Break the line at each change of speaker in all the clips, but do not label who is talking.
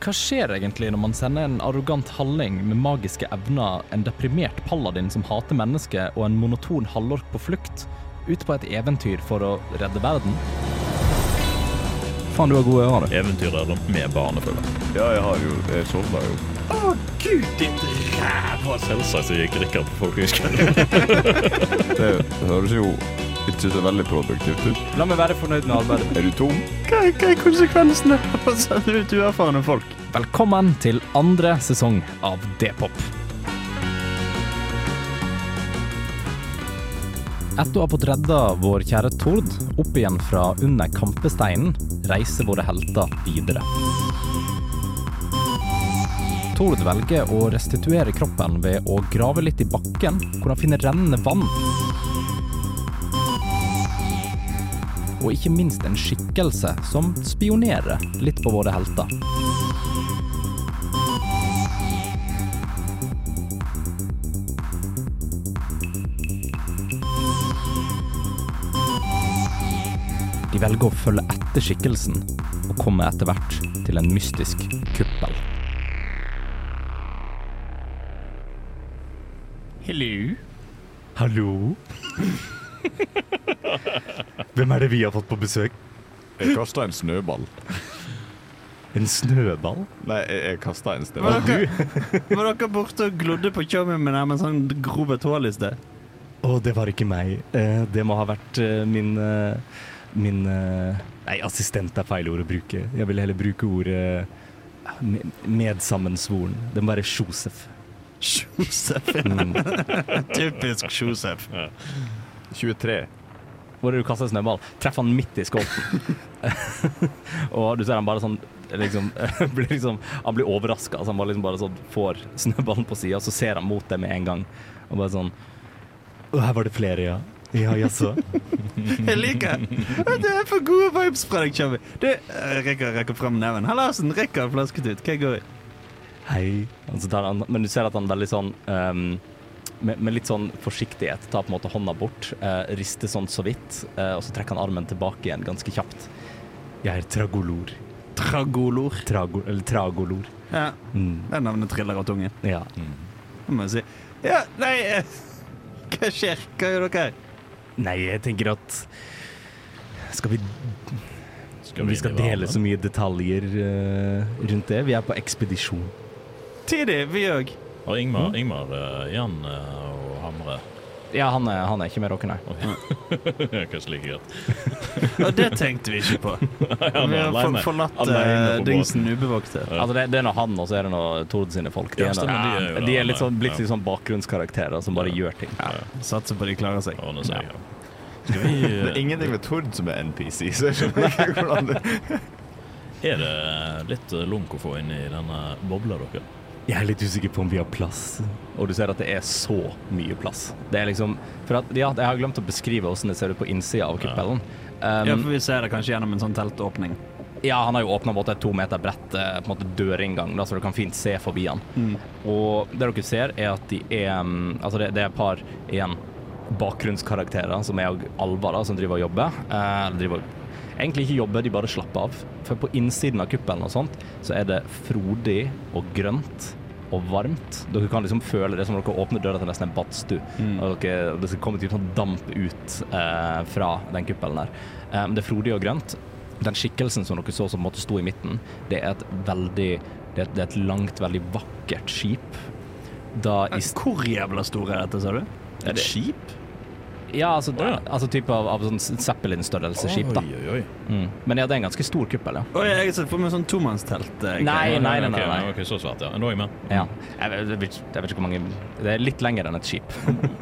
Hva skjer egentlig når man sender en arrogant halling med magiske evner, en deprimert paladin som hater mennesker, og en monoton halvork på flukt ut på et eventyr for å redde verden?
Faen, du har gode ører, du.
Eventyrere med barnefølge.
Ja, jeg har jo Jeg sovna jo.
Selvsagt så gikk Rikard på folkehøyskole.
Det høres jo ikke så veldig produktivt ut.
La meg være fornøyd med arbeidet.
Er du tom?
Hva, hva er konsekvensene av å sende ut uerfarne folk?
Velkommen til andre sesong av D-pop. Etter å ha fått redda vår kjære Tord opp igjen fra under kampesteinen, reiser våre helter videre. Tord velger å restituere kroppen ved å grave litt i bakken, hvor han finner rennende vann. Og ikke minst en skikkelse som spionerer litt på våre helter. De velger å følge etter skikkelsen, og kommer etter hvert til en mystisk kuppel.
Hello.
Hallo? Hvem er det vi har fått på besøk?
Jeg kasta en snøball.
En snøball?
Nei, jeg, jeg kasta en
Var
snøball.
dere, var dere borte og glodde på tjommien min her med sånn grov et hull i sted?
Å, det var ikke meg. Eh, det må ha vært eh, min eh, Min eh, Nei, assistent er feil ord å bruke. Jeg vil heller bruke ordet eh, med, medsammensvoren. Det må være Josef.
Josef.
Mm.
Typisk Josef.
23.
Hvor er det du kaster en snøball? Treff han midt i skolten. og du ser han bare sånn liksom, blir liksom, Han blir overraska. Altså, han bare, liksom bare sånn, får snøballen på sida, så ser han mot deg med en gang. Og bare sånn Å, her var det flere, ja. Ja, jaså.
Jeg liker det. Det er for gode vibes fra deg, Chubby. Du, eh, Rikard rekker frem neven. Hallasen, Rikard flasket ut. Hva går i?
Hei. Og så tar han, men du ser at han veldig sånn ehm, med, med litt sånn forsiktighet tar på en måte hånda bort, eh, rister sånn så vidt, eh, og så trekker han armen tilbake igjen ganske kjapt. Jeg er tragolor.
Tragolor.
Trago, eller tragolor.
Ja,
Mm,
det navnet triller av tungen.
ja.
Det må jeg si. Ja, nei eh, Hva skjer? Hva gjør dere?
Nei, jeg tenker at skal vi,
Skal
vi, skal dele så mye detaljer eh, rundt det. Vi er på ekspedisjon.
Tidlig, vi òg.
Og
Mm.
Ingmar, Ingmar eh, igjen eh, og Hamre.
Ja, han er, han er ikke med dere, nei.
Kanskje like greit.
Og det tenkte vi ikke på.
Han
Vi
er
har for,
alene.
forlatt
Alene
eh,
på båten.
dingsen ubevoktet.
Altså, det, det er nå han, og så er det nå Tord sine folk. De
Ja,
er, nå-
stemmer, de er jo
ja,
da
de er
han
litt
er.
sånn, blitt
Ja.
litt sånn bakgrunnskarakterer som bare gjør ting.
Satser på de klarer seg.
Ordner seg. Skal vi
Det er
eh,
ingenting ved Tord som er NPC, så jeg skjønner ikke hvordan det
Er det litt eh, lunk å få inn i denne bobla, dere?
Jeg er litt usikker på om vi har plass. Og du ser at det er så mye plass. Det er liksom For at, ja, jeg har glemt å beskrive hvordan det ser ut på innsida av kuppelen.
Ja,
Um,
for vi ser det kanskje gjennom en sånn teltåpning.
ja, han har jo åpna et to meter bredt eh, på en måte dørinngang, da, så du kan fint se forbi han. Og det dere ser, er at de er mm, Altså, det, det er et par igjen bakgrunnskarakterer som er alver, da, som driver og jobber. Eh, eller driver og Egentlig ikke jobber, de bare slapper av. For på innsiden av kuppelen og sånt, så er det frodig og grønt og varmt. Dere kan liksom føle det som om dere åpner døra til nesten en badstue. Og dere, det skal komme typ sånn damp ut eh, fra den kuppelen der. Eh, det er frodig og grønt. Den skikkelsen som dere så som på en måte sto i midten, det er et veldig det er et, det er et langt, veldig vakkert skip. Da i s-
Hvor jævla stor er dette, sa du?
er det-
skip?
Ja, altså,
Å, ja.
altså type av, av sånn Zeppelin-størrelse-skip, da.
Oi, oi, oi.
Mm. Men ja, det er en ganske stor kuppel, ja.
Å, jeg har sett for meg sånn tomannstelt. eh,
Nei,
greier.
nei, nei,
Ok,
nei, nei.
ok, så svært, ja. Nå er jeg med.
Ja. Jeg, vet- jeg, vet, ikke- jeg vet ikke hvor mange Det er litt lenger enn et skip.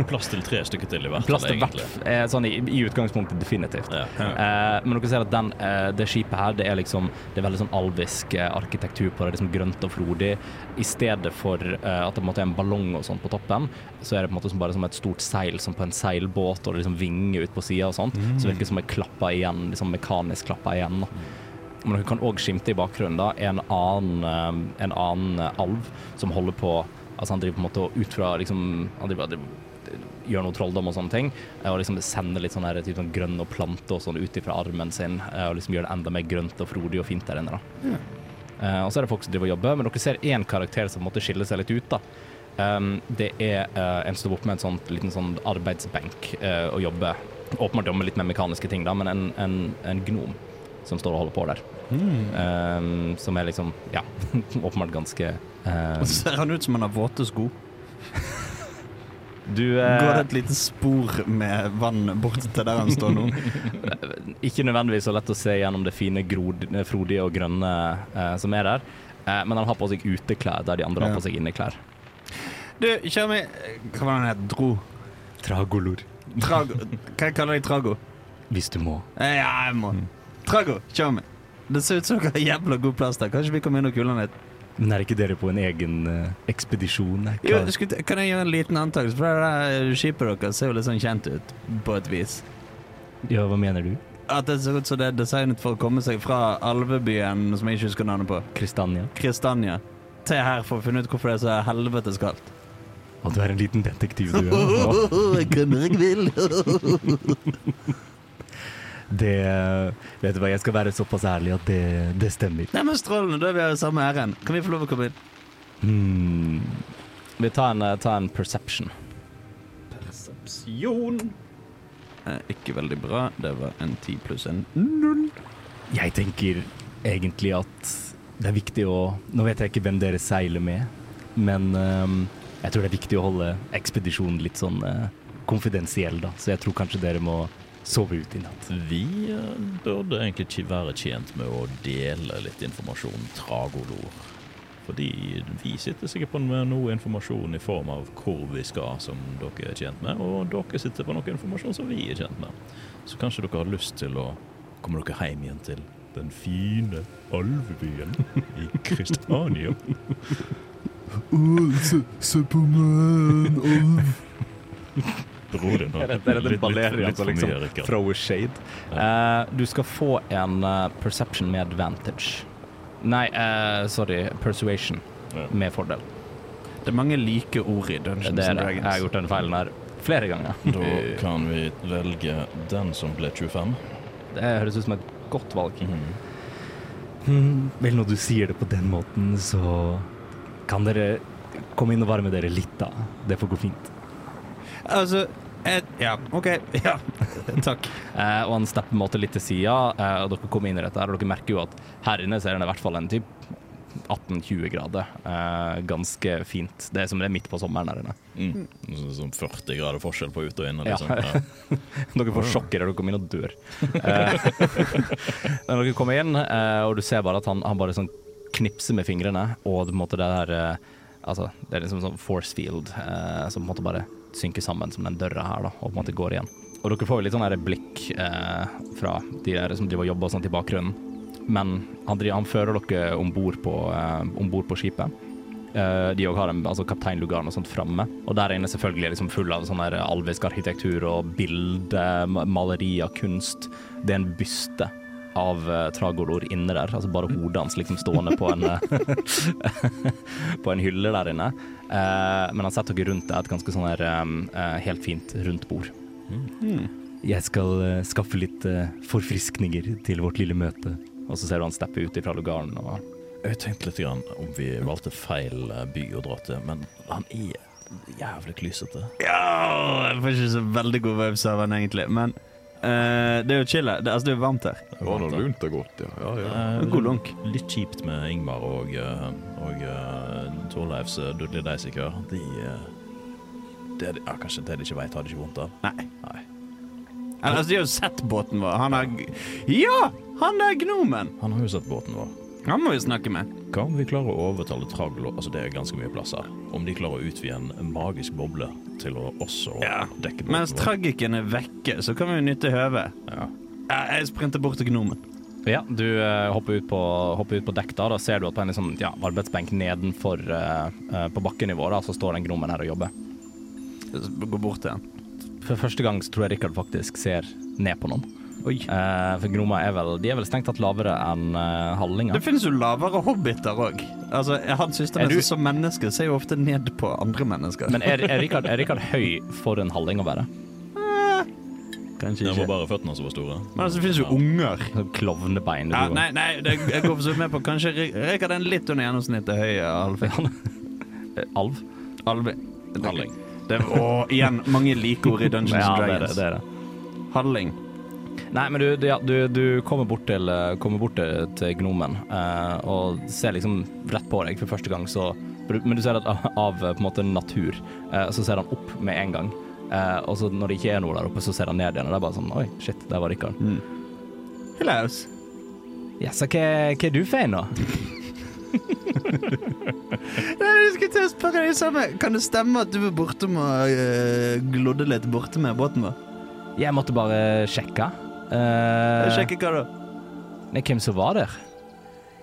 Plass til tre stykker til i hvert
Plass til hvert
egentlig.
eh, sånn i, i utgangspunktet definitivt.
Ja.
Eh, men dere ser at den, eh, det skipet her, det er liksom Det er veldig sånn alvisk eh, arkitektur på det. Liksom grønt og frodig. I stedet for eh, at det på en måte er en ballong og sånt på toppen, så er det på en måte som bare som et stort seil, som på en seilbåt, og det liksom vinger ut på sida og sånt.
Mm.
Så virker det som det klapper igjen, liksom mekanisk klapper igjen. Da. Men dere kan òg skimte i bakgrunnen da, en annen, eh, en annen eh, alv som holder på Altså han driver på en måte og ut fra liksom Han driver, han driver gjør noe trolldom og sånne ting, eh, og liksom sender litt sånn her typ sånn grønn og plante og sånn ut ifra armen sin, eh, og liksom gjør det enda mer grønt og frodig og fint der inne, da. Eh, og så er det folk som driver og jobber, men dere ser én karakter som måtte skille seg litt ut. da. Um, det er eh, en som står oppe med en sånn, liten sånn arbeidsbenk eh, og jobber. Åpenbart jobber med litt mer mekaniske ting, da, men en, en, en gnom som står og holder på der. Um, som er liksom Ja, åpenbart ganske eh,
Og så ser han ut som han har våte sko.
Du
Går det
eh,
et lite spor med vann bort til der han står nå?
ikke nødvendigvis så lett å se gjennom det fine, grod, frodige og grønne eh, som er der. Eh, men han har på seg uteklær der de andre
Ja.
har på seg inneklær.
Du, kjør meg Hva var det han het? Dro?
Tragolor.
Trago? Hva jeg kaller de Trago?
Hvis du må.
Eh, Ja, jeg må. Trago, kjør meg. Det ser ut som dere har jævla god plass der. Kanskje vi kommer inn og kuler litt?
Men er ikke dere på en egen eh, ekspedisjon? eh, Er
Jo,
klar?
skulle, t- kan jeg gjøre en liten antakelse? For det der skipet deres ser jo litt sånn kjent ut, på et vis.
Ja, hva mener du?
At det ser ut som det er designet for å komme seg fra alvebyen, som jeg ikke husker navnet på,
Kristania?
Kristania, til her for å finne ut hvorfor det er så helvetes kaldt.
Å, du er en liten detektiv, du. ja.
Jeg kommer jeg vil.
Det eh, Vet du hva, jeg skal være såpass ærlig at det, det stemmer.
Nei, men strålende, da er vi av samme æren. Kan vi få lov å komme inn?
Hmm. Vi tar en, eh, ta en perception.
Eh, ikke veldig bra. Det var en ti pluss en.
Jeg tenker egentlig at det er viktig å Nå vet jeg ikke hvem dere seiler med, men ehm, jeg tror det er viktig å holde ekspedisjonen litt sånn eh, konfidensiell, da. Så jeg tror kanskje dere må sove ut i natt.
Vi eh, burde egentlig ikke være tjent med å dele litt informasjon, tragolor. Fordi vi sitter sikkert på med noe informasjon i form av hvor vi skal, som dere er tjent med, og dere sitter på noe informasjon som vi er tjent med. Så kanskje dere har lyst til å komme dere hjem igjen til den fine alvebyen i Kristiania.
Se på meg, alv.
Ro deg nå. Rikard.
liksom throw a shade. Eh, du skal få en eh, perception med advantage. Nei, eh, sorry, persuasion
Ja.
med fordel.
Det er mange like ord i Dungeons
Det er
and
det. Jeg har
Dragons.
gjort den feilen her flere ganger.
Da kan vi velge den som ble 25.
Det høres ut som et godt valg.
Mhm.
Hmm, Vel, når du sier det på den måten, så kan dere komme inn og varme dere litt, da. Det får gå fint.
Altså, et, ja, OK. Ja, takk.
Eh, og han stepper på en måte litt til sida, eh, og dere kommer inn i dette her, og dere merker jo at her inne så er det i hvert fall en typ 18-20 grader. Eh, ganske fint. Det er som det er midt på sommeren her inne.
Mm. Så- Sånn 40 grader forskjell på ute og inne,
Ja.
liksom. Ja.
Dere får sjokk idet dere kommer inn og dør. Eh, når dere kommer inn, eh, og du ser bare at han, han bare sånn knipser med fingrene, og det, på en måte det der eh, Altså, det er liksom sånn force field eh, som på en måte bare synker sammen som den døra her, da, og på en måte går igjen. Og dere får jo litt sånn der blikk eh, fra de der som driver og jobber og sånt i bakgrunnen. Men han, driver, han fører dere om bord på, eh, ombord på skipet. Eh, de òg har en, altså kaptein Lugan og sånt framme. Og der inne selvfølgelig er liksom full av sånn der alvisk arkitektur og bilder, ma- malerier, kunst. Det er en byste av eh, Tragolor inne der, altså bare hodet hans liksom stående på en eh, på en hylle der inne. Eh, men han setter dere rundt det, et ganske sånn her eh, eh, helt fint rundt bord.
Hmm.
Jeg skal eh, skaffe litt eh, forfriskninger til vårt lille møte. Og så ser du han steppe ut ifra lugaren og
Jeg tenkte litt grann om vi valgte feil eh, by å dra til, men han er jævlig klysete.
Ja, jeg får ikke så veldig god vibes av han egentlig, men eh, det er jo chill her. Det, altså, det er jo varmt her.
Var det lunt og godt, ja. ja, ja.
Eh,
God lunk.
Litt kjipt med Ingmar og, eh, og eh, Torleifs eh, dødelige deisiker. De eh, det, er- ja, Kanskje det de ikke vet, har de ikke vondt av.
Nei.
Nei.
Eller, Altså, de har jo sett båten vår. Han er g- Ja! Han der gnomen!
Han har jo sett båten vår.
Han må vi snakke med.
Hva om vi klarer å overtale Traglo Altså, det er ganske mye plass her. Om de klarer å utvide en magisk boble til å også
Ja,
dekke båten
Mens
vår.
tragikken er vekke, så kan vi jo nytte høvet.
Ja.
Ja, Jeg sprinter bort til gnomen.
Ja, du eh, hopper, ut på, hopper ut på dekk da. Da ser du at på en sånn, ja, arbeidsbenk nedenfor eh, eh, på bakkenivå da, så står den gnomen her og jobber.
Gå bort til han.
For første gang så tror jeg Rikard faktisk ser ned på noen.
Oi.
Eh, for gnomer er vel De er vel strengt tatt lavere enn uh,
Det
hallinger.
finnes jo lavere hobbiter òg. Altså, han
Er
systemene
du-
som mennesker ser jo ofte ned på andre mennesker.
Men er, er, Rikard, er Rikard høy for en halling å være?
Det
Kanskje
var
ikke.
bare føttene som var store.
Men altså, det finnes jo unger.
Sånn Klovnebein.
Ja,
du-
nei, nei, det, jeg går for så vidt med på Kanskje re- reker den litt under gjennomsnittet høye alving.
Eh, Alv.
Alving.
Halling.
Det, og igjen, mange likeord i Dungeons
Ja,
and
det er det.
Dragons.
det, er det.
Halling.
Nei, men du, du, ja, du, du kommer bort til, eh, kommer bort til, til gnomen eh, og ser liksom rett på deg for første gang, så Men du ser at av, av eh, på en måte natur, eh, så ser han opp med en gang. Eh, og så når det ikke er noe der oppe, så ser han ned igjen, og det er bare sånn Oi, shit, der var Rikard.
Hilaus.
Ja, så hva, hva er du for en, da?
Nei, jeg skulle til å spørre deg det samme. Kan det stemme at du var borte med eh, glodde litt borte med båten vår?
Jeg måtte bare sjekke. Eh,
Sjekke hva da?
Nei, hvem som var der?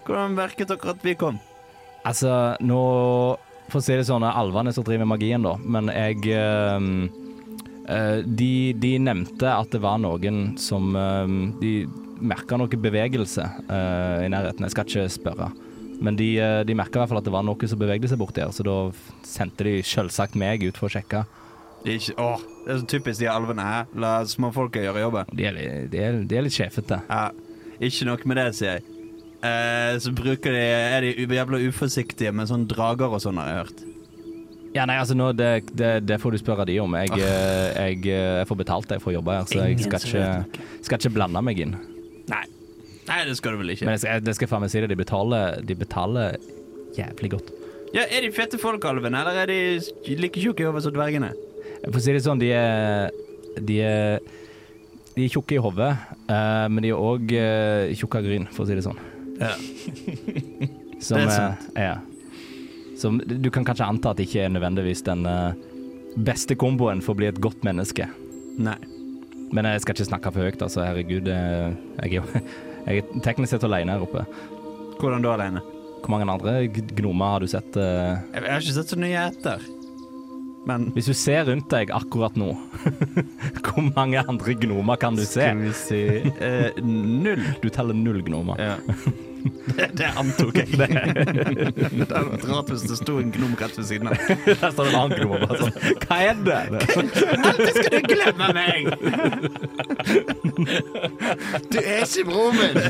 Hvordan merket dere at vi kom?
Altså, nå For å si det sånn, det er alvene som driver magien, da, men jeg ehm, eh, de, de nevnte at det var noen som ehm, De merka noe bevegelse eh, i nærheten. Jeg skal ikke spørre. Men de, eh, de merka i hvert fall at det var noe som bevegde seg borti her, så da f- sendte de selvsagt meg ut for å sjekke.
Det er ikke, åh, det er så typisk de alvene her. La småfolka gjøre jobben.
De er, li- de er, de er litt sjefete.
Ja, ikke nok med det, sier jeg. Eh, så bruker de, er de u- jævla uforsiktige med sånn drager og sånn, har jeg hørt.
Ja, nei, altså, nå, det, det, det får du spørre de om. Jeg, eh, jeg, eh, jeg får betalt, jeg får jobbe her, så jeg
Ingen
skal
som
ikke, skal ikke blande meg inn.
Nei. Nei, det skal du vel ikke.
Men jeg skal, jeg- det skal faen meg si det, de betaler, de betaler jævlig godt.
Ja, Er de fete folk, alvene, eller er de s- like tjukke i hodet som dvergene?
For å si det sånn, de er De er, de er tjukke i hodet, eh, men de er òg eh, tjukke av gryn, for å si det sånn.
Ja.
Som,
Det er
eh,
sant.
ja. Som du kan kanskje anta at det ikke er nødvendigvis den eh, beste komboen for å bli et godt menneske.
Nei.
Men jeg skal ikke snakke for høyt, altså. Herregud, eh, jeg er jo jeg er teknisk sett alene her oppe.
Hvordan da alene?
Hvor mange andre gnomer har du sett? eh?
Jeg, jeg har ikke sett så nøye etter. Men
Hvis du ser rundt deg akkurat nå, hvor mange andre gnomer kan du se?
Skal vi si eh, null.
Du teller null gnomer.
Ja. Det, det antok jeg. Det hadde vært rart hvis det sto en gnom rett ved siden av.
Der står en annen gnom og bare sånn Hva er det?
Alltid skal du glemme meg! Du er ikke broren min!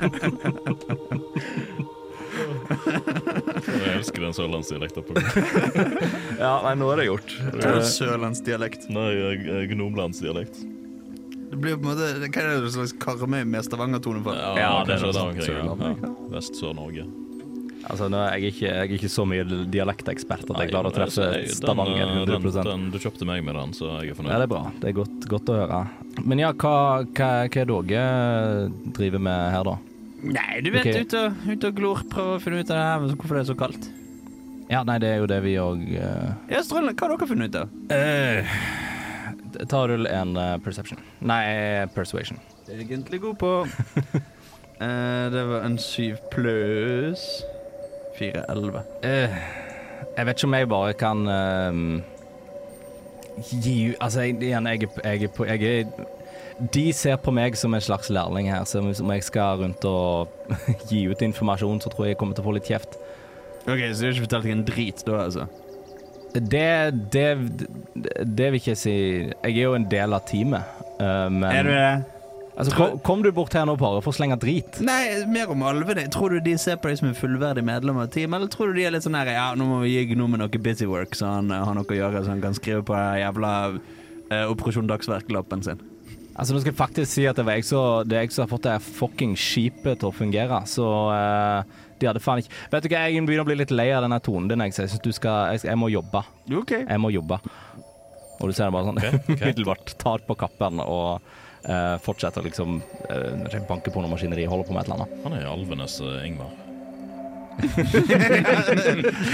Jeg elsker den sørlandsdialekten på meg.
Ja, nei, nå er det gjort.
Sørlandsdialekt.
Nei, eh, gnomlandsdialekt.
Det blir på en måte det- Hva er det slags Karmøy med Stavanger-tone for?
Ja, det er
kanskje
noe sånt,
der omkring,
Sørlandet,
ja. Vest-Sør-Norge.
Altså, nå er jeg, ikke, jeg er ikke så mye dialektekspert at jeg klarer å treffe
Nei, den,
Stavanger
eh,
100
Den, den, du kjøpte meg med den, så jeg er fornøyd.
Ja, det er bra. Det er godt, godt å høre. Men ja, hva, hva, hva er det dere driver med her, da?
Nei, du vet,
Ok.
ut, og, ut og glor. Prøver å finne ut av det her, men hvorfor det er så kaldt.
Ja, nei, det er jo det vi eh, òg
Ja, Strålende. Hva har dere funnet ut av?
Ta og rull Eh, en eh, perception. Nei, persuasion.
Egentlig god på Eh, Det var en syv pluss fire elleve.
Eh, jeg vet ikke om jeg bare kan ehm, gi Altså, jeg, igjen, jeg, er- jeg, er på- jeg er De ser på meg som en slags lærling her, så hvis- om jeg skal rundt og gi ut informasjon, så tror jeg jeg kommer til å få litt kjeft.
OK, så du har ikke fortalt deg en drit da, altså?
Det, det Det vil ikke jeg si Jeg er jo en del av teamet, eh, men
Er du det?
Altså, kom, kom du bort her nå, bare, for å slenge drit.
Nei, mer om alvene. Tror du de ser på deg som en fullverdig medlem av teamet, eller tror du de er litt sånn her Ja, nå må vi gi gnomen noe busy work, så han eh, har noe å gjøre, så han kan skrive på den jævla eh, Operasjon Dagsverk-lappen sin.
Altså, nå skal jeg faktisk si at det, var jeg som- det er jeg som har fått det her fucking skipet til å fungere, så eh, de hadde faen ikke Vet du hva, jeg begynner å bli litt lei av denne tonen din. Jeg, så jeg synes du skal jeg, jeg må jobbe.
OK.
Jeg må jobbe. Og du ser det bare sånn umiddelbart tar på kappen og eh, fortsetter å liksom uh, banke på noe maskineri, holder på med et eller annet.
Han er alvenes eh, Ingvar.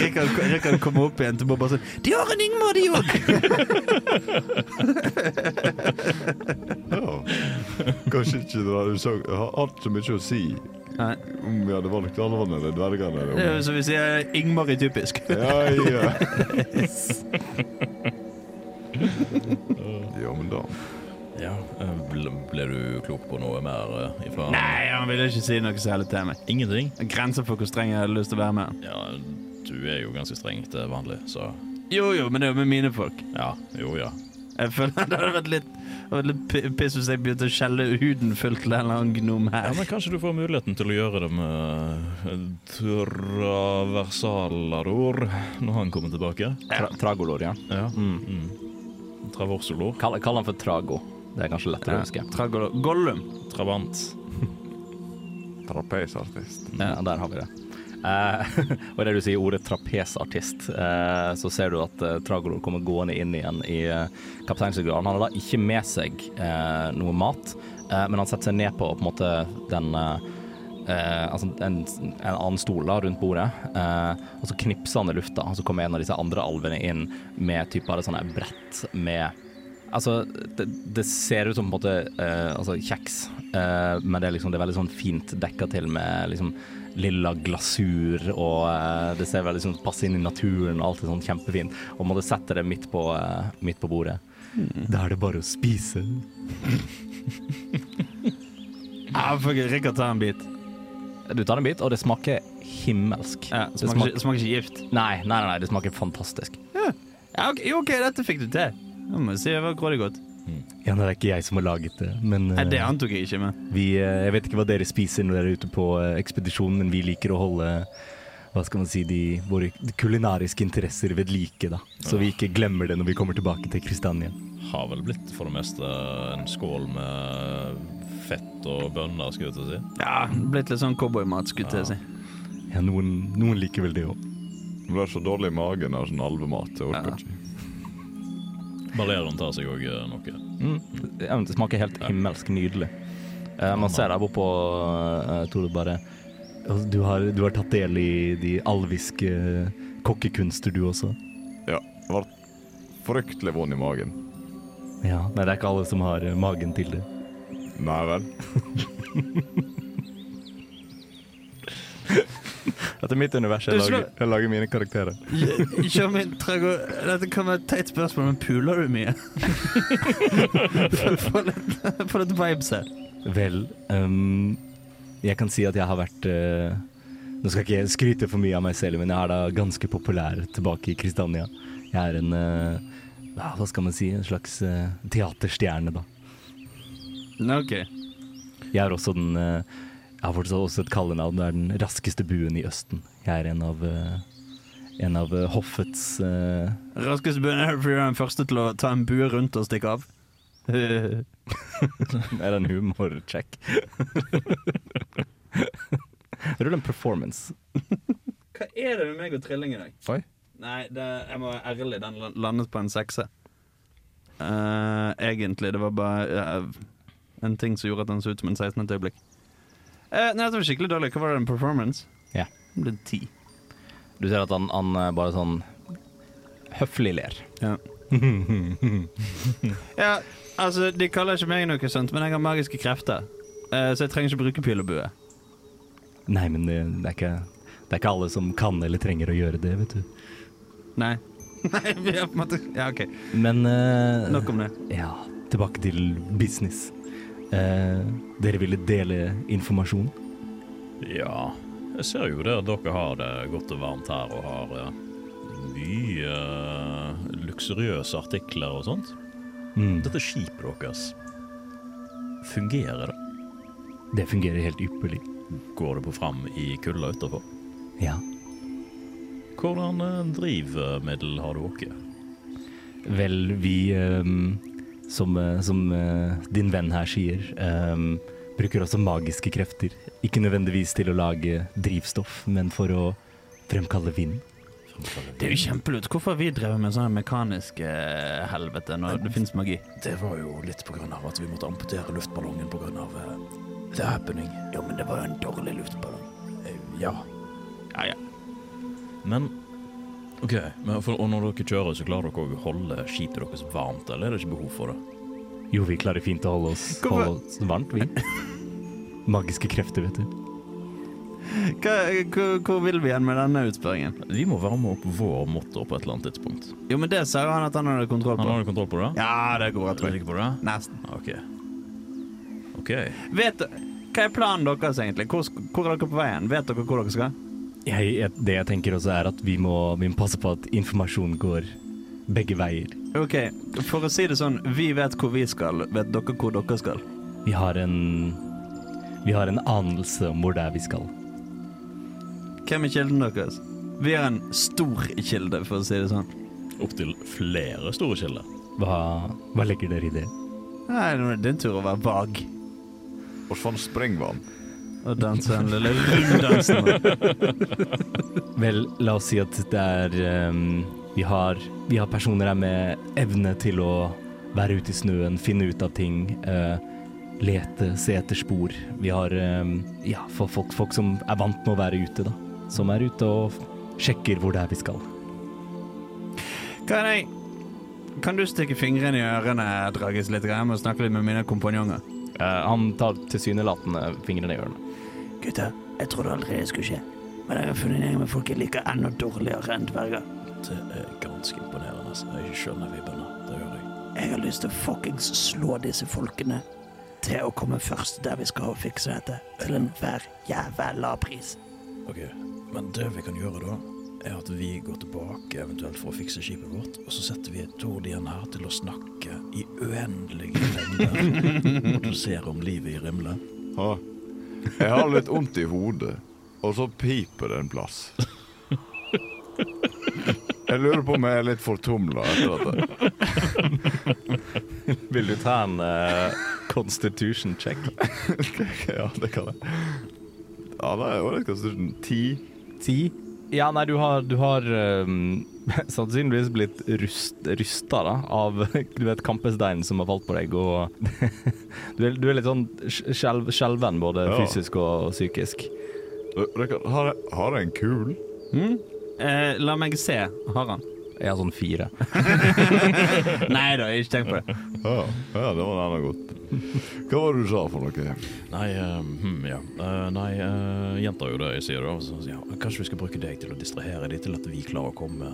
Rikard Rikard kommer opp igjen til Bob og sånn De har en Ingmar, de òg!
Ja. Kanskje ikke det hadde sagt, har hatt så mye å si om vi hadde valgt alvene eller dvergene.
Det er
Eller
jo som vi sier Ingmar i typisk.
om. Ja, ja. ja, men da.
Ja, eh, ble, ble du klok på noe mer eh, ifra
Nei, han ville ikke si noe særlig til meg.
Ingenting?
Grenser for hvor streng jeg hadde lyst til å være med.
Ja, du er jo ganske streng til eh, vanlig, så
Jo, jo, men det er jo med mine folk.
Ja, jo ja.
Jeg føler Det hadde vært litt, det hadde vært litt pi- piss hvis jeg begynte å skjelle huden full til en eller annen gnom
ja.
her.
Men kanskje du får muligheten til å gjøre det med eh, traversalaror når han kommer tilbake?
Tra tragolor, ja.
Ja. Mm. Traversolor.
Kall, kall han for Trago. Det er kanskje lettere å huske.
Tragolo. Gollum.
Trabant.
Trapesartist.
Ja, der har vi det. Eh, og idet du sier ordet trapesartist, eh, så ser du at eh, Tragolor kommer gående inn igjen i eh, kapteinsfiguren. Han har da ikke med seg eh, noe mat, eh, men han setter seg ned på på en måte den eh, eh, altså en, en annen stol da, rundt bordet, eh, og så knipser han i lufta. Og så kommer en av disse andre alvene inn med type av et sånt her brett med Altså, det, det ser ut som på en måte eh, altså kjeks, eh, men det er liksom det er veldig sånn fint dekka til med liksom lilla glasur, og eh, det ser veldig sånn passe inn i naturen, og alt er sånn kjempefint. Og på en måte setter det midt på, eh, midt på bordet. Mm. Da er det bare å spise.
Ja, fuck it. Rikard tar en bit.
Du tar en bit, og det smaker himmelsk.
Ja,
det
smaker,
smaker,
ikke, smaker ikke gift.
nei, nei, nei, nei, det smaker fantastisk.
Ja, ok, jo, OK, dette fikk du til. Jeg må si det var grådig godt.
Ja, det er ikke jeg som har laget det, men
Nei, det antok jeg ikke, men
Vi, eh, jeg vet ikke hva dere spiser når dere er ute på eh, ekspedisjon, men vi liker å holde hva skal man si, de, våre kulinariske interesser ved like, da. Så vi ikke glemmer det når vi kommer tilbake til Kristiania.
Har vel blitt for det meste en skål med fett og bønner, skulle jeg til å si.
ja, blitt litt sånn cowboymat, skulle jeg til å si.
Ja, noen, noen liker vel det òg.
Du blir så dårlig i magen av sånn alvemat. Jeg orker ikke.
Balleron tar seg òg noe.
Mm. Det smaker helt himmelsk nydelig. Eh, man ser der borte på uh, Tore bare «Å, du har, du har tatt del i de alviske eh, kokkekunster, du også.
Ja, det var fryktelig vond i magen.
Ja, Nei, det er ikke alle som har eh, magen til det.
Nei vel.
Dette er mitt univers.
Du slår-
jeg lager mine karakterer.
Kjør min trago... Dette kan være et teit spørsmål, men puler du mye? Få litt, få litt vibes her.
Vel, ehm, jeg kan si at jeg har vært eh, Nå skal ikke jeg skryte for mye av meg selv, men jeg er da ganske populær tilbake i Kristiania. Jeg er en eh, ja, Hva skal man si? En slags eh, teaterstjerne, da.
Nei, OK.
Jeg er også den eh, Jeg har fortsatt også et kallenavn. Det er den raskeste buen i Østen. Jeg er en av eh, en av eh, hoffets eh,
Raskest begynner jeg, for du er den første til å ta en bue rundt og stikke av. Nei,
Er det en humorcheck? Rull en performance.
Hva er det med meg og trilling i dag?
Oi.
Nei, det, jeg må være ærlig. Den la- landet på en sekse. Eh, egentlig. Det var bare eh, en ting som gjorde at den så ut som en 16. et øyeblikk. Eh, nei, det var skikkelig dårlig. Hva var det, en performance?
Ja.
Det ble ti.
Du ser at han, han eh, bare sånn høflig ler.
Ja. ja, altså, de kaller ikke meg noe sånt, men jeg har magiske krefter. Eh, så jeg trenger ikke bruke pil og bue.
Nei, men det, det, er ikke, det er ikke alle som kan eller trenger å gjøre det, vet du.
Nei. Nei, vi har på en måte Ja, OK.
Men eh,
Nok om det.
Ja, tilbake til business. Eh, dere ville dele informasjon?
Ja, jeg ser jo det. at Dere har det godt og varmt her og har eh, mye eh, luksuriøse artikler og sånt.
Mm,
Dette skipet deres, fungerer det?
det fungerer helt ypperlig.
Går det på fram i kulda utenfor?
Ja.
Hvordan eh, drivmiddel har dere?
Vel, vi ehm, som, eh, som eh, din venn her sier, ehm, bruker også magiske krefter. Ikke nødvendigvis til å lage drivstoff, men for å fremkalle vind.
Det er jo kjempelurt. Hvorfor har vi drevet med sånn mekanisk eh, helvete når det fins magi?
Det var jo litt på grunn av at vi måtte amputere luftballongen på grunn av eh, the happening. Jo, men det var jo en dårlig luftballong. Eh, Ja.
Men OK, men for, og når dere kjører, så klarer dere å holde skipet deres varmt, eller er det ikke behov for det?
Jo, vi klarer fint å holde oss,
Hvorfor-
holde oss varmt, vi. Magiske krefter, vet du.
Hva, hvor- hvor vil vi hen med denne utspørringen?
Vi må varme opp vår motor på et eller annet tidspunkt.
Jo, men det sa jo han at han hadde kontroll
Han
på.
har du kontroll på det?
Ja, det går bra,
Er du
tror jeg.
sikker på det?
Nesten.
OK. OK.
Vet dere- hva er planen deres, egentlig? Hvor, sk- hvor er dere på veien? Vet dere hvor dere skal?
Jeg, jeg, det jeg tenker også er at vi må, vi må passe på at informasjon går begge veier.
OK, for å si det sånn, vi vet hvor vi skal. Vet dere hvor dere skal?
Vi har en Vi har en anelse om hvor det er vi skal.
Hvem er kilden deres? Vi har en stor kilde, for å si det sånn.
Opptil flere store kilder.
Hva, hva legger dere i det?
Nei, nå er det din tur å være vag
Hvor faen sprenger man?
og danse den lille runddansen.
Vel, la oss si at det er ehm, vi, har, vi har personer her med evne til å være ute i snøen, finne ut av ting, eh, lete, se etter spor. Vi har ehm, ja, for folk, folk som er vant med å være ute, da. Som er ute og f- sjekker hvor det er vi skal.
Kan jeg Kan du stikke fingrene i ørene, Dragis, litt? Jeg må snakke litt med mine kompanjonger.
Eh, han tar tilsynelatende fingrene i ørene.
Gutter, jeg trodde aldri det skulle skje. Men jeg har funnet en gjeng med folk jeg liker enda dårligere enn dverger.
Det er ganske imponerende. altså. Jeg skjønner vibbene. Det gjør jeg.
Jeg har lyst til å fuckings slå disse folkene til å komme først der vi skal og fikse dette. Til enhver jævla pris.
Ok, Men det vi kan gjøre da, er at vi går tilbake eventuelt for å fikse skipet vårt, og så setter vi Tord igjen her til å snakke i uendelige lengder og dosere om livet i Rimle.
Ha. Jeg har litt vondt i hodet, og så piper det en plass. Jeg lurer på om jeg er litt fortumla etter dette.
Vil du ta en eh, constitution check?
Ja, det kan jeg. Ja, det er jo litt konstitusjon. Ti.
Ti? Ja, nei, du har, du har ehm, sannsynligvis blitt rust, rysta da, av du vet, kampesteinen som har falt på deg. Og du, er, du er litt sånn skjelv- skjelven, både
Ja.
fysisk og psykisk.
Rikard, har jeg- har jeg en kul?
Eh, la meg se. Har han?
Jeg har sånn fire.
Nei da, ikke tenk på det.
Ja, ja det var nærmere godt. Hva var det du sa for noe?
Nei, eh, hm, ja. Eh, nei, uh, jenta er jo det jeg sier, da. altså. Så, ja.
Kanskje vi skal bruke deg til å distrahere dem til at vi klarer å komme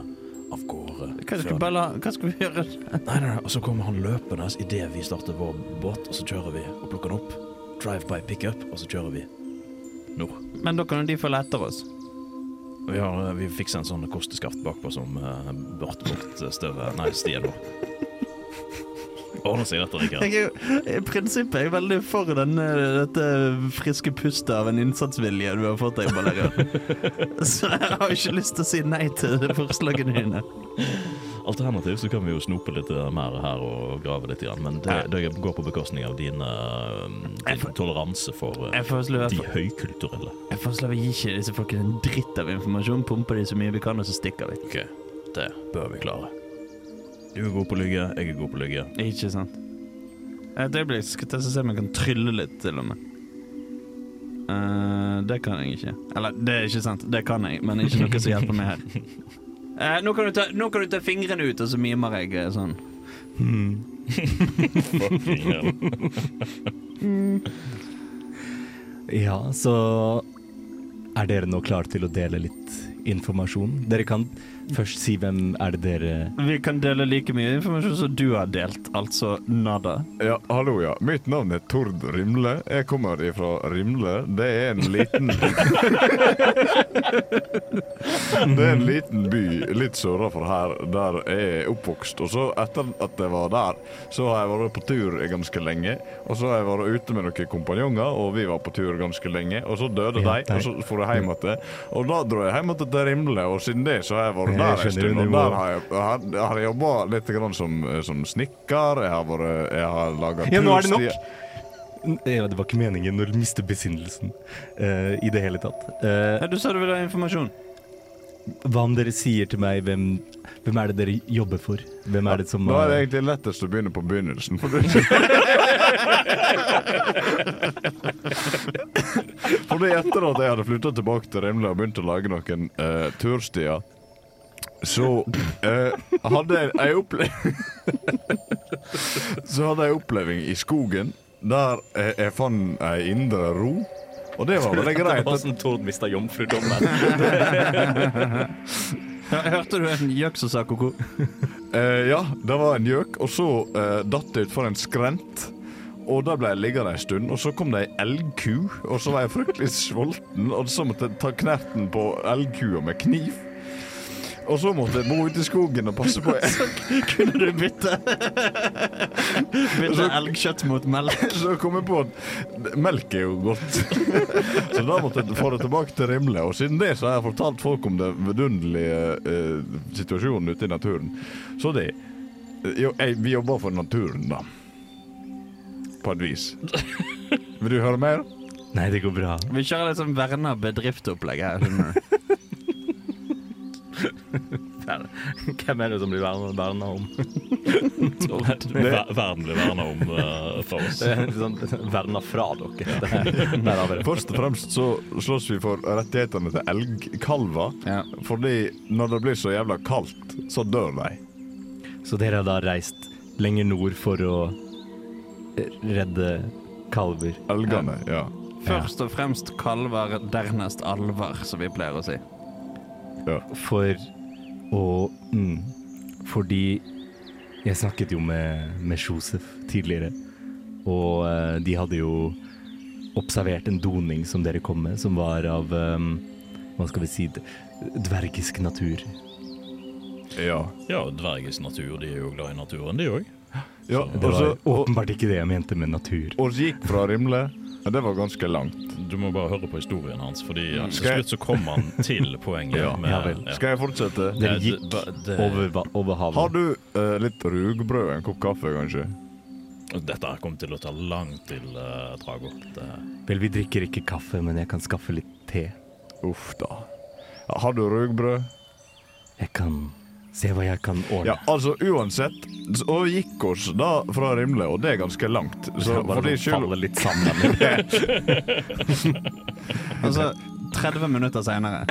av gårde.
Hva skal,
før-
vi bare la, hva skal vi gjøre?
Nei, nei, nei, og så kommer han løpende idet vi starter vår båt, og så kjører vi og plukker han opp. Drive by pickup, og så kjører vi nord.
Men da kan jo de følge etter oss.
Vi, har, eh, vi fikser en sånn kosteskaft bakpå som uh,
eh,
bort bort støvet Nei, stien vår.
Ordner seg dette, Rikard.
Jeg er jo, I prinsippet er jeg veldig for denne, dette friske pustet av en innsatsvilje du har fått deg, Balerian. Så jeg har ikke lyst til å si nei til forslagene dine.
Alternativt så kan vi jo snope litt eh, mer her og grave litt, igjen, men det, det går på bekostning av din, eh, din toleranse for eh,
Jeg foreslår,
de
jeg,
høykulturelle.
jeg foreslår vi gir ikke disse folkene en dritt av informasjon, pumper de så mye vi kan, og så stikker vi.
Ok, det bør vi klare. Du er god på lygge, jeg er god på lygge.
Ikke sant. Eh, Et øyeblikk, skal jeg se om jeg kan trylle litt, til og med. Eh, det kan jeg ikke. Eller, det er ikke sant. Det kan jeg, men ikke noe som hjelper meg her. Eh, nå, kan du ta, nå kan du ta fingrene ut, og så mimer jeg eh, sånn.
Fucking hell.
Ja, så er dere nå klare til å dele litt informasjon? Dere kan først si hvem er det dere
Vi kan dele like mye informasjon som du har delt, altså nada.
Ja, hallo, ja. Mitt navn er Tord Rimle. Jeg kommer ifra Rimle. Det er en liten Det er en liten by litt sørra for her, der jeg er oppvokst. Og så, etter at jeg var der, så har jeg vært på tur ganske lenge. Og så har jeg vært ute med noen kompanjonger, og vi var på tur ganske lenge. Og så døde
Ja,
de, og så for jeg hjem igjen. Og da dro jeg hjem igjen til Rimle, og siden det så har jeg vært
Jeg
der en
skjønner
stund. Og
nivået.
der har jeg, har, har jeg jobba litt grann som, som snekker. Jeg har, vært- jeg har laga
Ja, nå er det nok. Ja, Det var ikke meningen å miste besinnelsen eh, i det hele tatt. Eh,
Ja, du sa du ville ha informasjon.
Hva om dere sier til meg hvem, hvem er det dere jobber for? Hvem er det som
Da er det
eh,
egentlig lettest å begynne på begynnelsen. For det, for det etter at jeg hadde flytta tilbake til Rimle og begynt å lage noen eh, turstier, så eh, hadde jeg ei oppleving Så hadde jeg oppleving i skogen der jeg, jeg fant ei indre ro. Og det var veldig greit.
Hvordan sånn Tord mista jomfrudommen.
Ja, hørte du en gjøk som sa ko-ko?
Eh, ja, det var en gjøk, og så eh, datt det utfor en skrent. Og der ble jeg liggende en stund, og så kom det ei elgku. Og så var jeg fryktelig sulten, og så måtte jeg ta knerten på elgkua med kniv. Og så måtte jeg bo ute i skogen og passe på
Kunne du bytte Bytte elgkjøtt mot melk?
Så kom jeg på at melk er jo godt. så da måtte jeg få det tilbake til Rimle. Og siden det så har jeg fortalt folk om den vidunderlige eh, situasjonen ute i naturen. Så det eh, jo, jeg, Vi jobber for naturen, da. På et vis. Vil du høre mer?
Nei, det går bra.
Vi kjører litt sånn verna bedrift-opplegg her. skjønner du?
Hvem er det som blir verna- verna om?
Ver- Verden blir verna om eh, for oss.
Det er liksom verna fra dere. Det her. Der har vi det.
Først og fremst så slåss vi for rettighetene til elgkalver.
Ja.
Fordi når det blir så jævla kaldt, så dør de.
Så dere har da reist lenger nord for å redde kalver?
Elgene, ja.
Først og fremst kalver, dernest alver, som vi pleier å si.
For å mm, Fordi jeg snakket jo med, med Josef tidligere, og eh, de hadde jo observert en doning som dere kom med, som var av eh, Hva skal vi si d- Dvergisk natur.
Ja.
Ja, dverges natur. De er jo glad i naturen, de òg.
ja
Det var
og, så, Altså, og,
åpenbart ikke det jeg mente med natur.
og så gikk fra Rimle. Men det var ganske langt.
Du må bare høre på historien hans, Fordi ja, til
Skal jeg-
slutt så kommer han til poenget.
Ja.
med,
Mm. Ja vel.
ja.
Skal jeg fortsette?
Dere
Eh, det-
gikk
ba- det-
over, va- over
Har
havet.
du eh, litt rugbrød og en kopp kaffe, kanskje?
Dette her kommer til å ta lang til uh, Drago. Det,
Vel, vi drikker ikke kaffe, men jeg kan skaffe litt te.
Uff da. Ja, Har du rugbrød?
Jeg kan se hva jeg kan
Ja,
ordne.
altså uansett. Så gikk oss da fra Rimle, og det er ganske langt. Så
Jeg
for
bare sånn
de skyld
faller litt sammen.
Altså, 30 minutter seinere.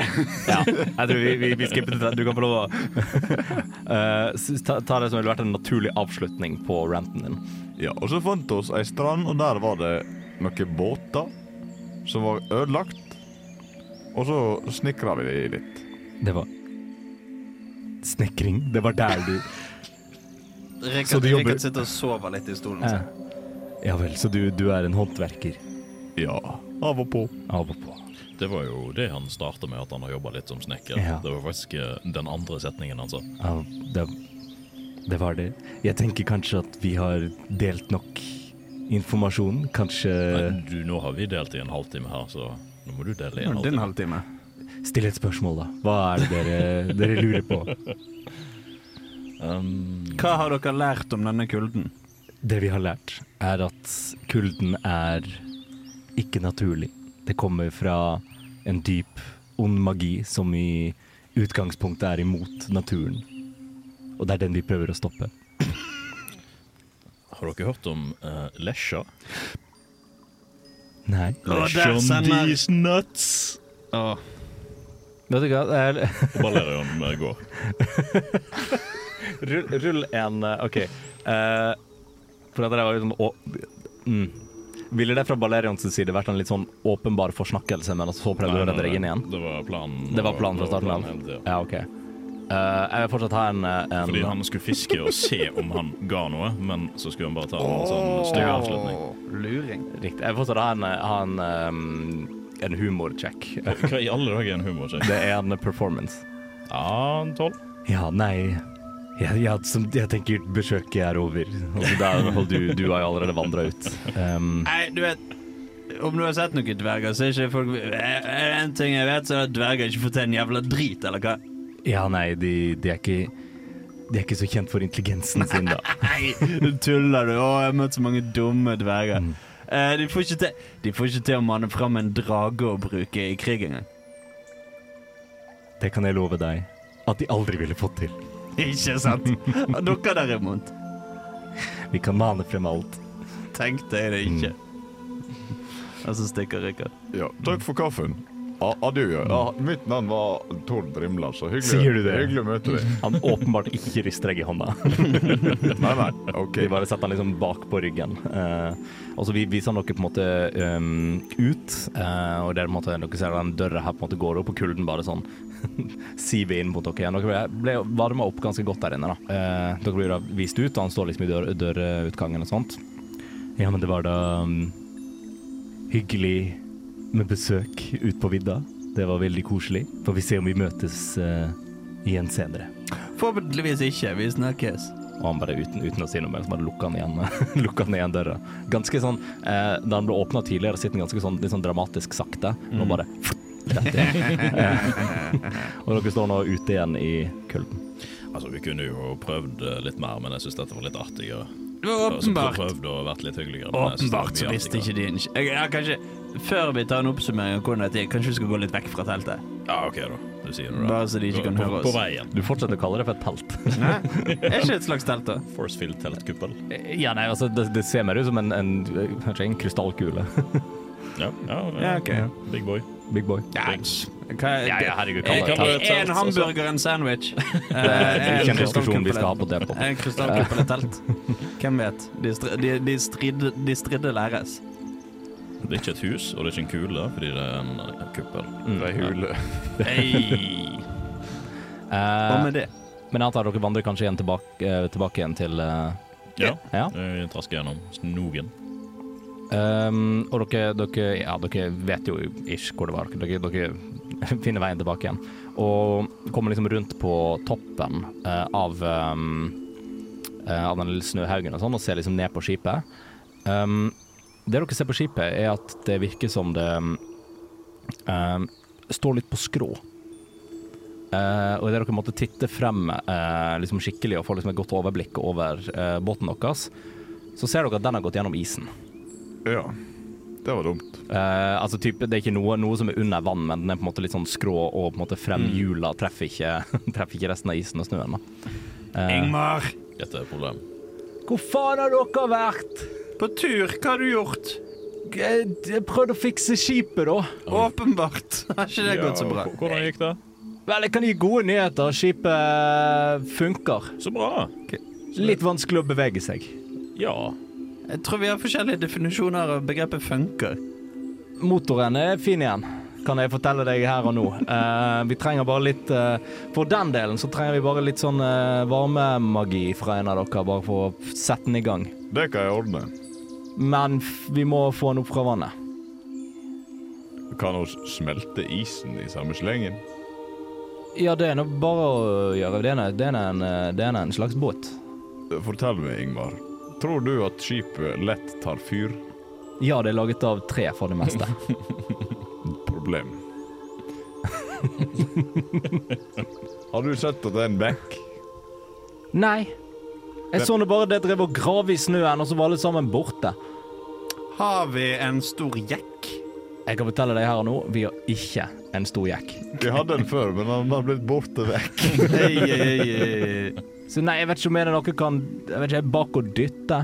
ja, jeg tror vi, vi, vi skipper til det. Du kan få lov å Eh, s- ta, ta det som ville vært en naturlig avslutning på ranten din.
Ja, og så fant vi oss ei strand, og der var det noen båter som var ødelagt. Og så snikra vi de litt.
Det var Snekring. Det var der du Så
Rikard,
du jobber-
Rikard sitter og sover litt i stolen altså.
Eh,
sin.
Ja vel, så du, du er en håndverker
Ja, av og på.
av og på.
det var jo det han starta med, at han har jobba litt som snekker.
Ja.
Det var faktisk eh, den andre setningen altså. han sa.
Ja, det, det var det. Jeg tenker kanskje at vi har delt nok informasjon. Kanskje
Nei, du, nå har vi delt i en halvtime her, så nå må du dele i en
Nå er det en
halvtime.
halvtime.
Still et spørsmål, da. Hva er det dere, dere lurer på?
Um,
Hva har dere lært om denne kulden?
Det vi har lært, er at kulden er ikke naturlig. Det kommer fra en dyp, ond magi som i utgangspunktet er imot naturen. Og det er den vi prøver å stoppe.
har dere hørt om uh, lesja?
Nei.
Å, der sender-
nuts!
Å,
Vet du hva,
Og Balerion eh, går.
rull, rull en eh, OK. Eh, for at det var liksom å, mm. Ville det fra Balerions side vært en litt sånn åpenbar forsnakkelse, men så prøvde du å redde deg inn igjen?
Det var planen.
Det var planen fra
Det var
starten av?
planen hele tiden.
Ja, OK. Eh, jeg vil fortsatt ha en, eh, en
Fordi han skulle fiske og se om han ga noe, men så skulle han bare ta en sånn stygg avslutning.
luring.
Riktig. Jeg fortsatt ha en, ha en, um, en humorcheck.
Hva i alle dager er en humorsjekk?
Det er en performance.
Ja, en tolv.
Ja, nei Jeg, jeg, som, jeg tenker besøket er over. Altså, der, og du, du har jo allerede vandra ut. Um,
Nei, du vet Om du har sett noen dverger, så er ikke folk Eh, En ting jeg vet, så er det at dverger ikke får til en jævla drit, eller hva?
ja, nei, de, de er ikke De er ikke så kjent for intelligensen sin, da.
Nei, nå tuller du. Å, jeg har møtt så mange dumme dverger.
Mm.
Eh, de, får ikke til, de får ikke til å manne fram en drage å bruke i krig engang.
Det kan jeg love deg at de aldri ville fått til.
Ikke sant? Og Dere derimot.
Vi kan mane frem alt.
Tenkte jeg det ikke.
Mm.
Og så stikker Rikard.
Ja, takk for kaffen. A- Adjø. Ja, mitt navn var Tord Rimla, så hyggelig,
Sier du det?
hyggelig å møte deg.
Han åpenbart ikke rister deg i hånda.
Nei, nei, OK.
Vi bare setter han liksom bak på ryggen. Eh, og så vi viser dere på en måte ehm, ut, eh, og der på en måte, dere ser den døra her på en måte går opp, og kulden bare sånn siver inn mot dere igjen. Dere ble, ble varma opp ganske godt der inne. da. Eh, dere blir da vist ut, og han står liksom i dør, dørutgangen og sånt. Ja, men det var da um, hyggelig med besøk ut på vidda. Det var veldig koselig. Får vi se om vi møtes eh, igjen senere.
Forhåpentligvis ikke. Vi snakkes.
Og han bare uten, uten å si noe mer, så bare lukka han igjen, lukka han igjen døra. Ganske sånn, eh, Da den ble åpna tidligere, sitter den ganske sånn, litt sånn dramatisk sakte. Nå bare rett igjen. og dere står nå ute igjen i kulden.
Altså, vi kunne jo prøvd eh, litt mer, men jeg syns dette var litt artigere.
Det var
Altså,
åpenbart.
prøvd å vært litt hyggeligere. men jeg synes det var
Åpenbart
mye
så visste
artigere.
ikke de en sj- Jeg- ja, Kanskje før vi tar en oppsummering av hvordan dette gikk, kanskje vi skal gå litt vekk fra teltet?
Ja, OK, da. Du sier det. da.
Bare så de ikke kan
På,
høre
på
oss.
veien.
Du fortsetter å kalle det for et telt.
Er ikke et slags telt, da?
Forcefield-teltkuppel.
Ja, nei, altså, det, det ser mer ut som en, en, kanskje en krystallkule.
Ja, ja,
Ja, ok.
Big boy.
Big boy.
Ja, hva-
Ja, ja, herregud.
Er-
Kan det,
kan det-
det,
er- er en hamburger
altså.
en sandwich?
er
Eh,
ikke
en
en diskusjon vi skal ha
krystallkuppel
på det. på.
En krystallkuppel et telt. Hvem vet? De, str de, de, strid de stridde læres.
Det er ikke et hus, og det er ikke en kule, fordi det er en eh, kuppel.
Det er
Mm.
hule.
Hva
Eh,
med det?
men jeg antar dere vandrer kanskje igjen tilbake, eh, tilbake igjen til eh,
Ja.
Ja.
Vi trasker gjennom snogen.
ehm, Og dere, dere, ja, dere vet jo ish hvor det var. Dere, dere finner veien tilbake igjen. Og kommer liksom rundt på toppen eh, av, ehm, eh, av den lille snøhaugen og sånn, og ser liksom ned på skipet. Ehm, det dere ser på skipet, er at det virker som det ehm, står litt på skrå. Eh, og idet dere måtte titte frem eh, liksom skikkelig og få liksom et godt overblikk over eh, båten deres, så ser dere at den har gått gjennom isen.
Ja. Det var dumt.
Eh, altså type, Det er ikke noe, noe som er under vann, men den er på en måte litt sånn skrå, og på en måte fremhjula treffer, ikke, treffer ikke resten av isen og snøen. da. Eh,
Ingmar,
Dette er et problem.
Hvor faen har dere vært?
på tur, hva har du gjort?
Jeg, jeg prøvde å fikse skipet, da.
Åpenbart. Har ikke det gått så bra?
H- Hvordan gikk det?
Vel, jeg kan gi gode nyheter. Skipet funker.
Så bra.
Litt vanskelig å bevege seg.
Ja.
Jeg tror vi har forskjellige definisjoner av begrepet funker.
Motoren er fin igjen, kan jeg fortelle deg her og nå. Eh, vi trenger bare litt eh, For den delen så trenger vi bare litt sånn eh, varmemagi fra en av dere, bare for å sette den i gang.
Det kan jeg ordne.
Men f vi må få den opp fra vannet.
Kan hun smelte isen i samme slengen?
Ja, det er nå bare å gjøre. Det er nå- det er nå en, eh, det er nå en slags båt.
Fortell meg, Ingvar. Tror du at skipet lett tar fyr?
Ja, det er laget av tre for det meste.
Problem. Har du sett at det er en bekk?
Nei. Jeg så nå bare det drev og grave i snøen, og så var alle sammen borte.
Har vi en stor jekk?
Jeg kan fortelle deg her og nå, vi har ikke en stor jekk.
Vi hadde en før, men den har blitt borte vekk.
Ei, ei, ei.
Så nei, jeg vet ikke om en av dere kan Jeg vet ikke, bak og dytte.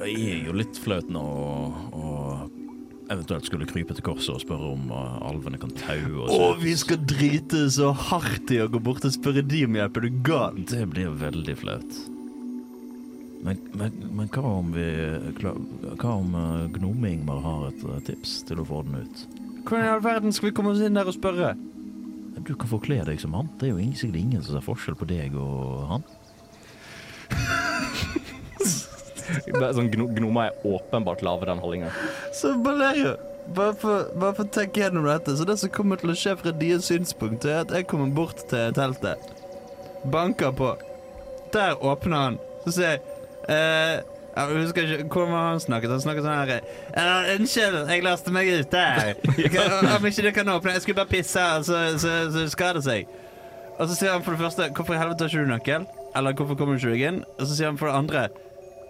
Det er jo litt flaut nå å å eventuelt skulle krype til korset og spørre om eh, alvene kan taue oss.
Og vi skal drite så hardt i å gå bort og spørre de om hjelp. Er du gal?
Det blir veldig flaut. Men, men, men hva om vi kla- Hva om eh, Gnome-Ingmar har et eh, tips til å få den ut?
Hvordan i all verden skal vi komme oss inn der og spørre?
Du kan forkle deg som han. Det er jo ingen- sikkert ingen som ser forskjell på deg og han.
Bare Sånn gno Gnomer er åpenbart lavere enn Hallinga.
Så Valerio, bare for, bare for å tenke gjennom dette. Så det som kommer til å skje fra deres synspunkt, er at jeg kommer bort til teltet. Banker på. Der åpner han. Så sier jeg eh, jeg husker ikke hvordan var han snakket. Han snakket sånn her eh, Unnskyld, jeg leste meg ut der. Om ikke du kan åpne Jeg skulle bare pisse, og så, så, så skader det seg. Og så sier han for det første Hvorfor i helvete har ikke du nøkkel? Eller hvorfor kommer du ikke deg inn? Og så sier han for det andre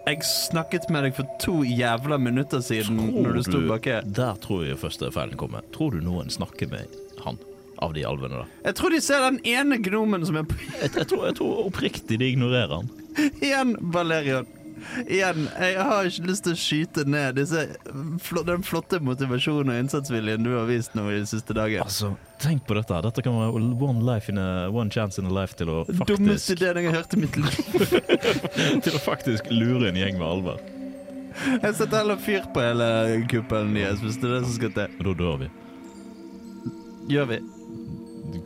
Jeg snakket med deg for to jævla minutter siden når du sto baki.
Der tror jeg første feilen kommer. Tror du noen snakker med han av de alvene der?
Jeg tror de ser den ene gnomen som er på
Jeg, jeg, tror, jeg tror oppriktig de ignorerer han.
Igjen, Valerian. Igjen. Jeg har ikke lyst til å skyte ned disse, fl den flotte motivasjonen og innsatsviljen du har vist nå i de siste dagen.
Altså, tenk på dette. her. Dette kan være one, life in a, one chance in a life til å
Dummeste
faktisk,
ideen jeg har hørt i mitt liv.
til å faktisk lure en gjeng med alver.
Jeg setter heller fyr på hele kuppelen deres hvis det er det som skal til.
Og da dør vi.
Gjør vi.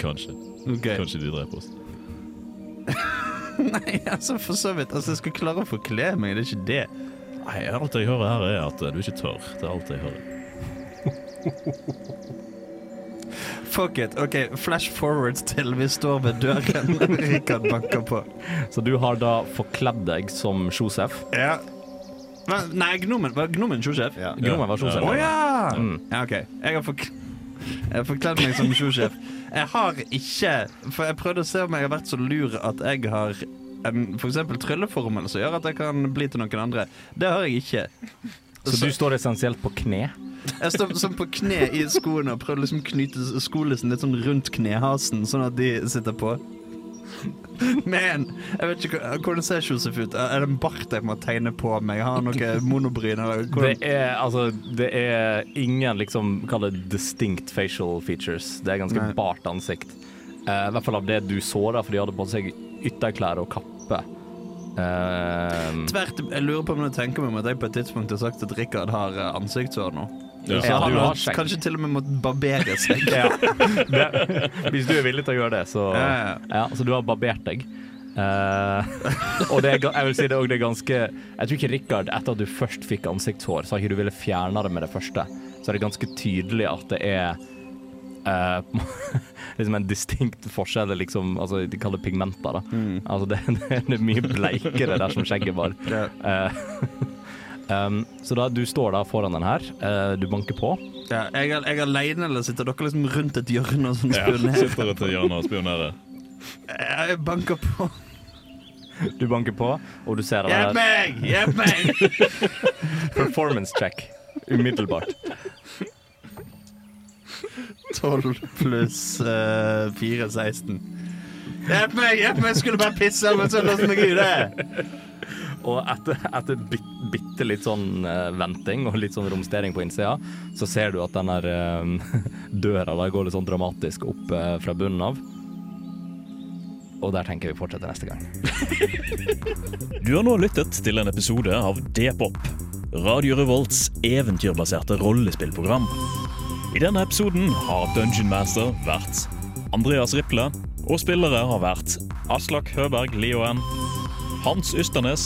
Kanskje.
Ok.
Kanskje de dreper oss.
Nei, altså, for så vidt. Altså, jeg skal klare å forkle meg, det er ikke det.
Nei, alt jeg hører her, er at eh, du ikke tør. Det er alt jeg hører.
Fuck it. OK, flash forwards til vi står ved døren. Rikard banker på.
Så du har da forkledd deg som Josef.
Ja.
Hva? Nei, Gnomen. Var Gnomen sjosjef? Å
Gnomen var Josef.
ja. ja! OK. Jeg har fork jeg har forkledd meg som sjosjef. Jeg har ikke For jeg prøvde å se om jeg har vært så lur at jeg har en f.eks. trylleformel som gjør at jeg kan bli til noen andre. Det har jeg ikke.
Så du står essensielt på kne.
Jeg står sånn på kne i skoene og prøver liksom å knyte skolissen litt sånn rundt knehasen, sånn at de sitter på. Men jeg vet ikke hva- hvordan ser Josef ut. Er det en bart jeg må tegne på meg? Har han noe monobryn? Eller
Det
hvordan?
er, altså, det er ingen liksom Kall det distinct facial features. Det er ganske
Nei.
bart ansikt. Eh, I hvert fall av det du så, da, for de hadde på seg ytterklær og kappe. Eh,
Tvert, jeg lurer på om jeg tenker meg om at jeg på et tidspunkt har sagt at Rikard har eh, ansiktshår nå.
Ja.
Så
Ja,
han
du har
har
skjegg.
kanskje til og med måttet barbere seg.
hvis du er villig til å gjøre det, så
Ja, ja.
Ja, så du har barbert deg. Eh, og det er, ga- jeg vil si det, er også det er ganske Jeg tror ikke Rikard, etter at du først fikk ansiktshår, så har ikke du ville fjerne det med det første. Så er det ganske tydelig at det er eh, liksom en distinkt forskjell. eller Liksom, altså, de kaller det pigmenter. Da. Altså, det, det er mye bleikere der som skjegget var.
Ja.
Eh, um, så da, du står da foran den her. eh, du banker på.
Ja, jeg er jeg er alene, eller sitter dere liksom rundt et hjørne og sånn spionerer?
Sitter etter hjørnet og spionerer.
Jeg banker på.
Du banker på, og du ser det her.
Hjelp meg! Hjelp meg!
Performance check. Umiddelbart.
12 pluss eh, 4, 16. Hjelp meg! hjelp meg, Jeg skulle bare pisse, men så låste meg ute!
Og etter, etter bit, bitte litt sånn eh, venting og litt sånn romstering på innsida, så ser du at den der eh, døra da går litt sånn dramatisk opp eh, fra bunnen av. Og der tenker vi fortsette neste gang.
Du har nå lyttet til en episode av D-pop, Radio Revolts eventyrbaserte rollespillprogram. I denne episoden har Dungeon Master vært Andreas Riple, og spillere har vært Aslak Høberg Lioen, Hans Ysternes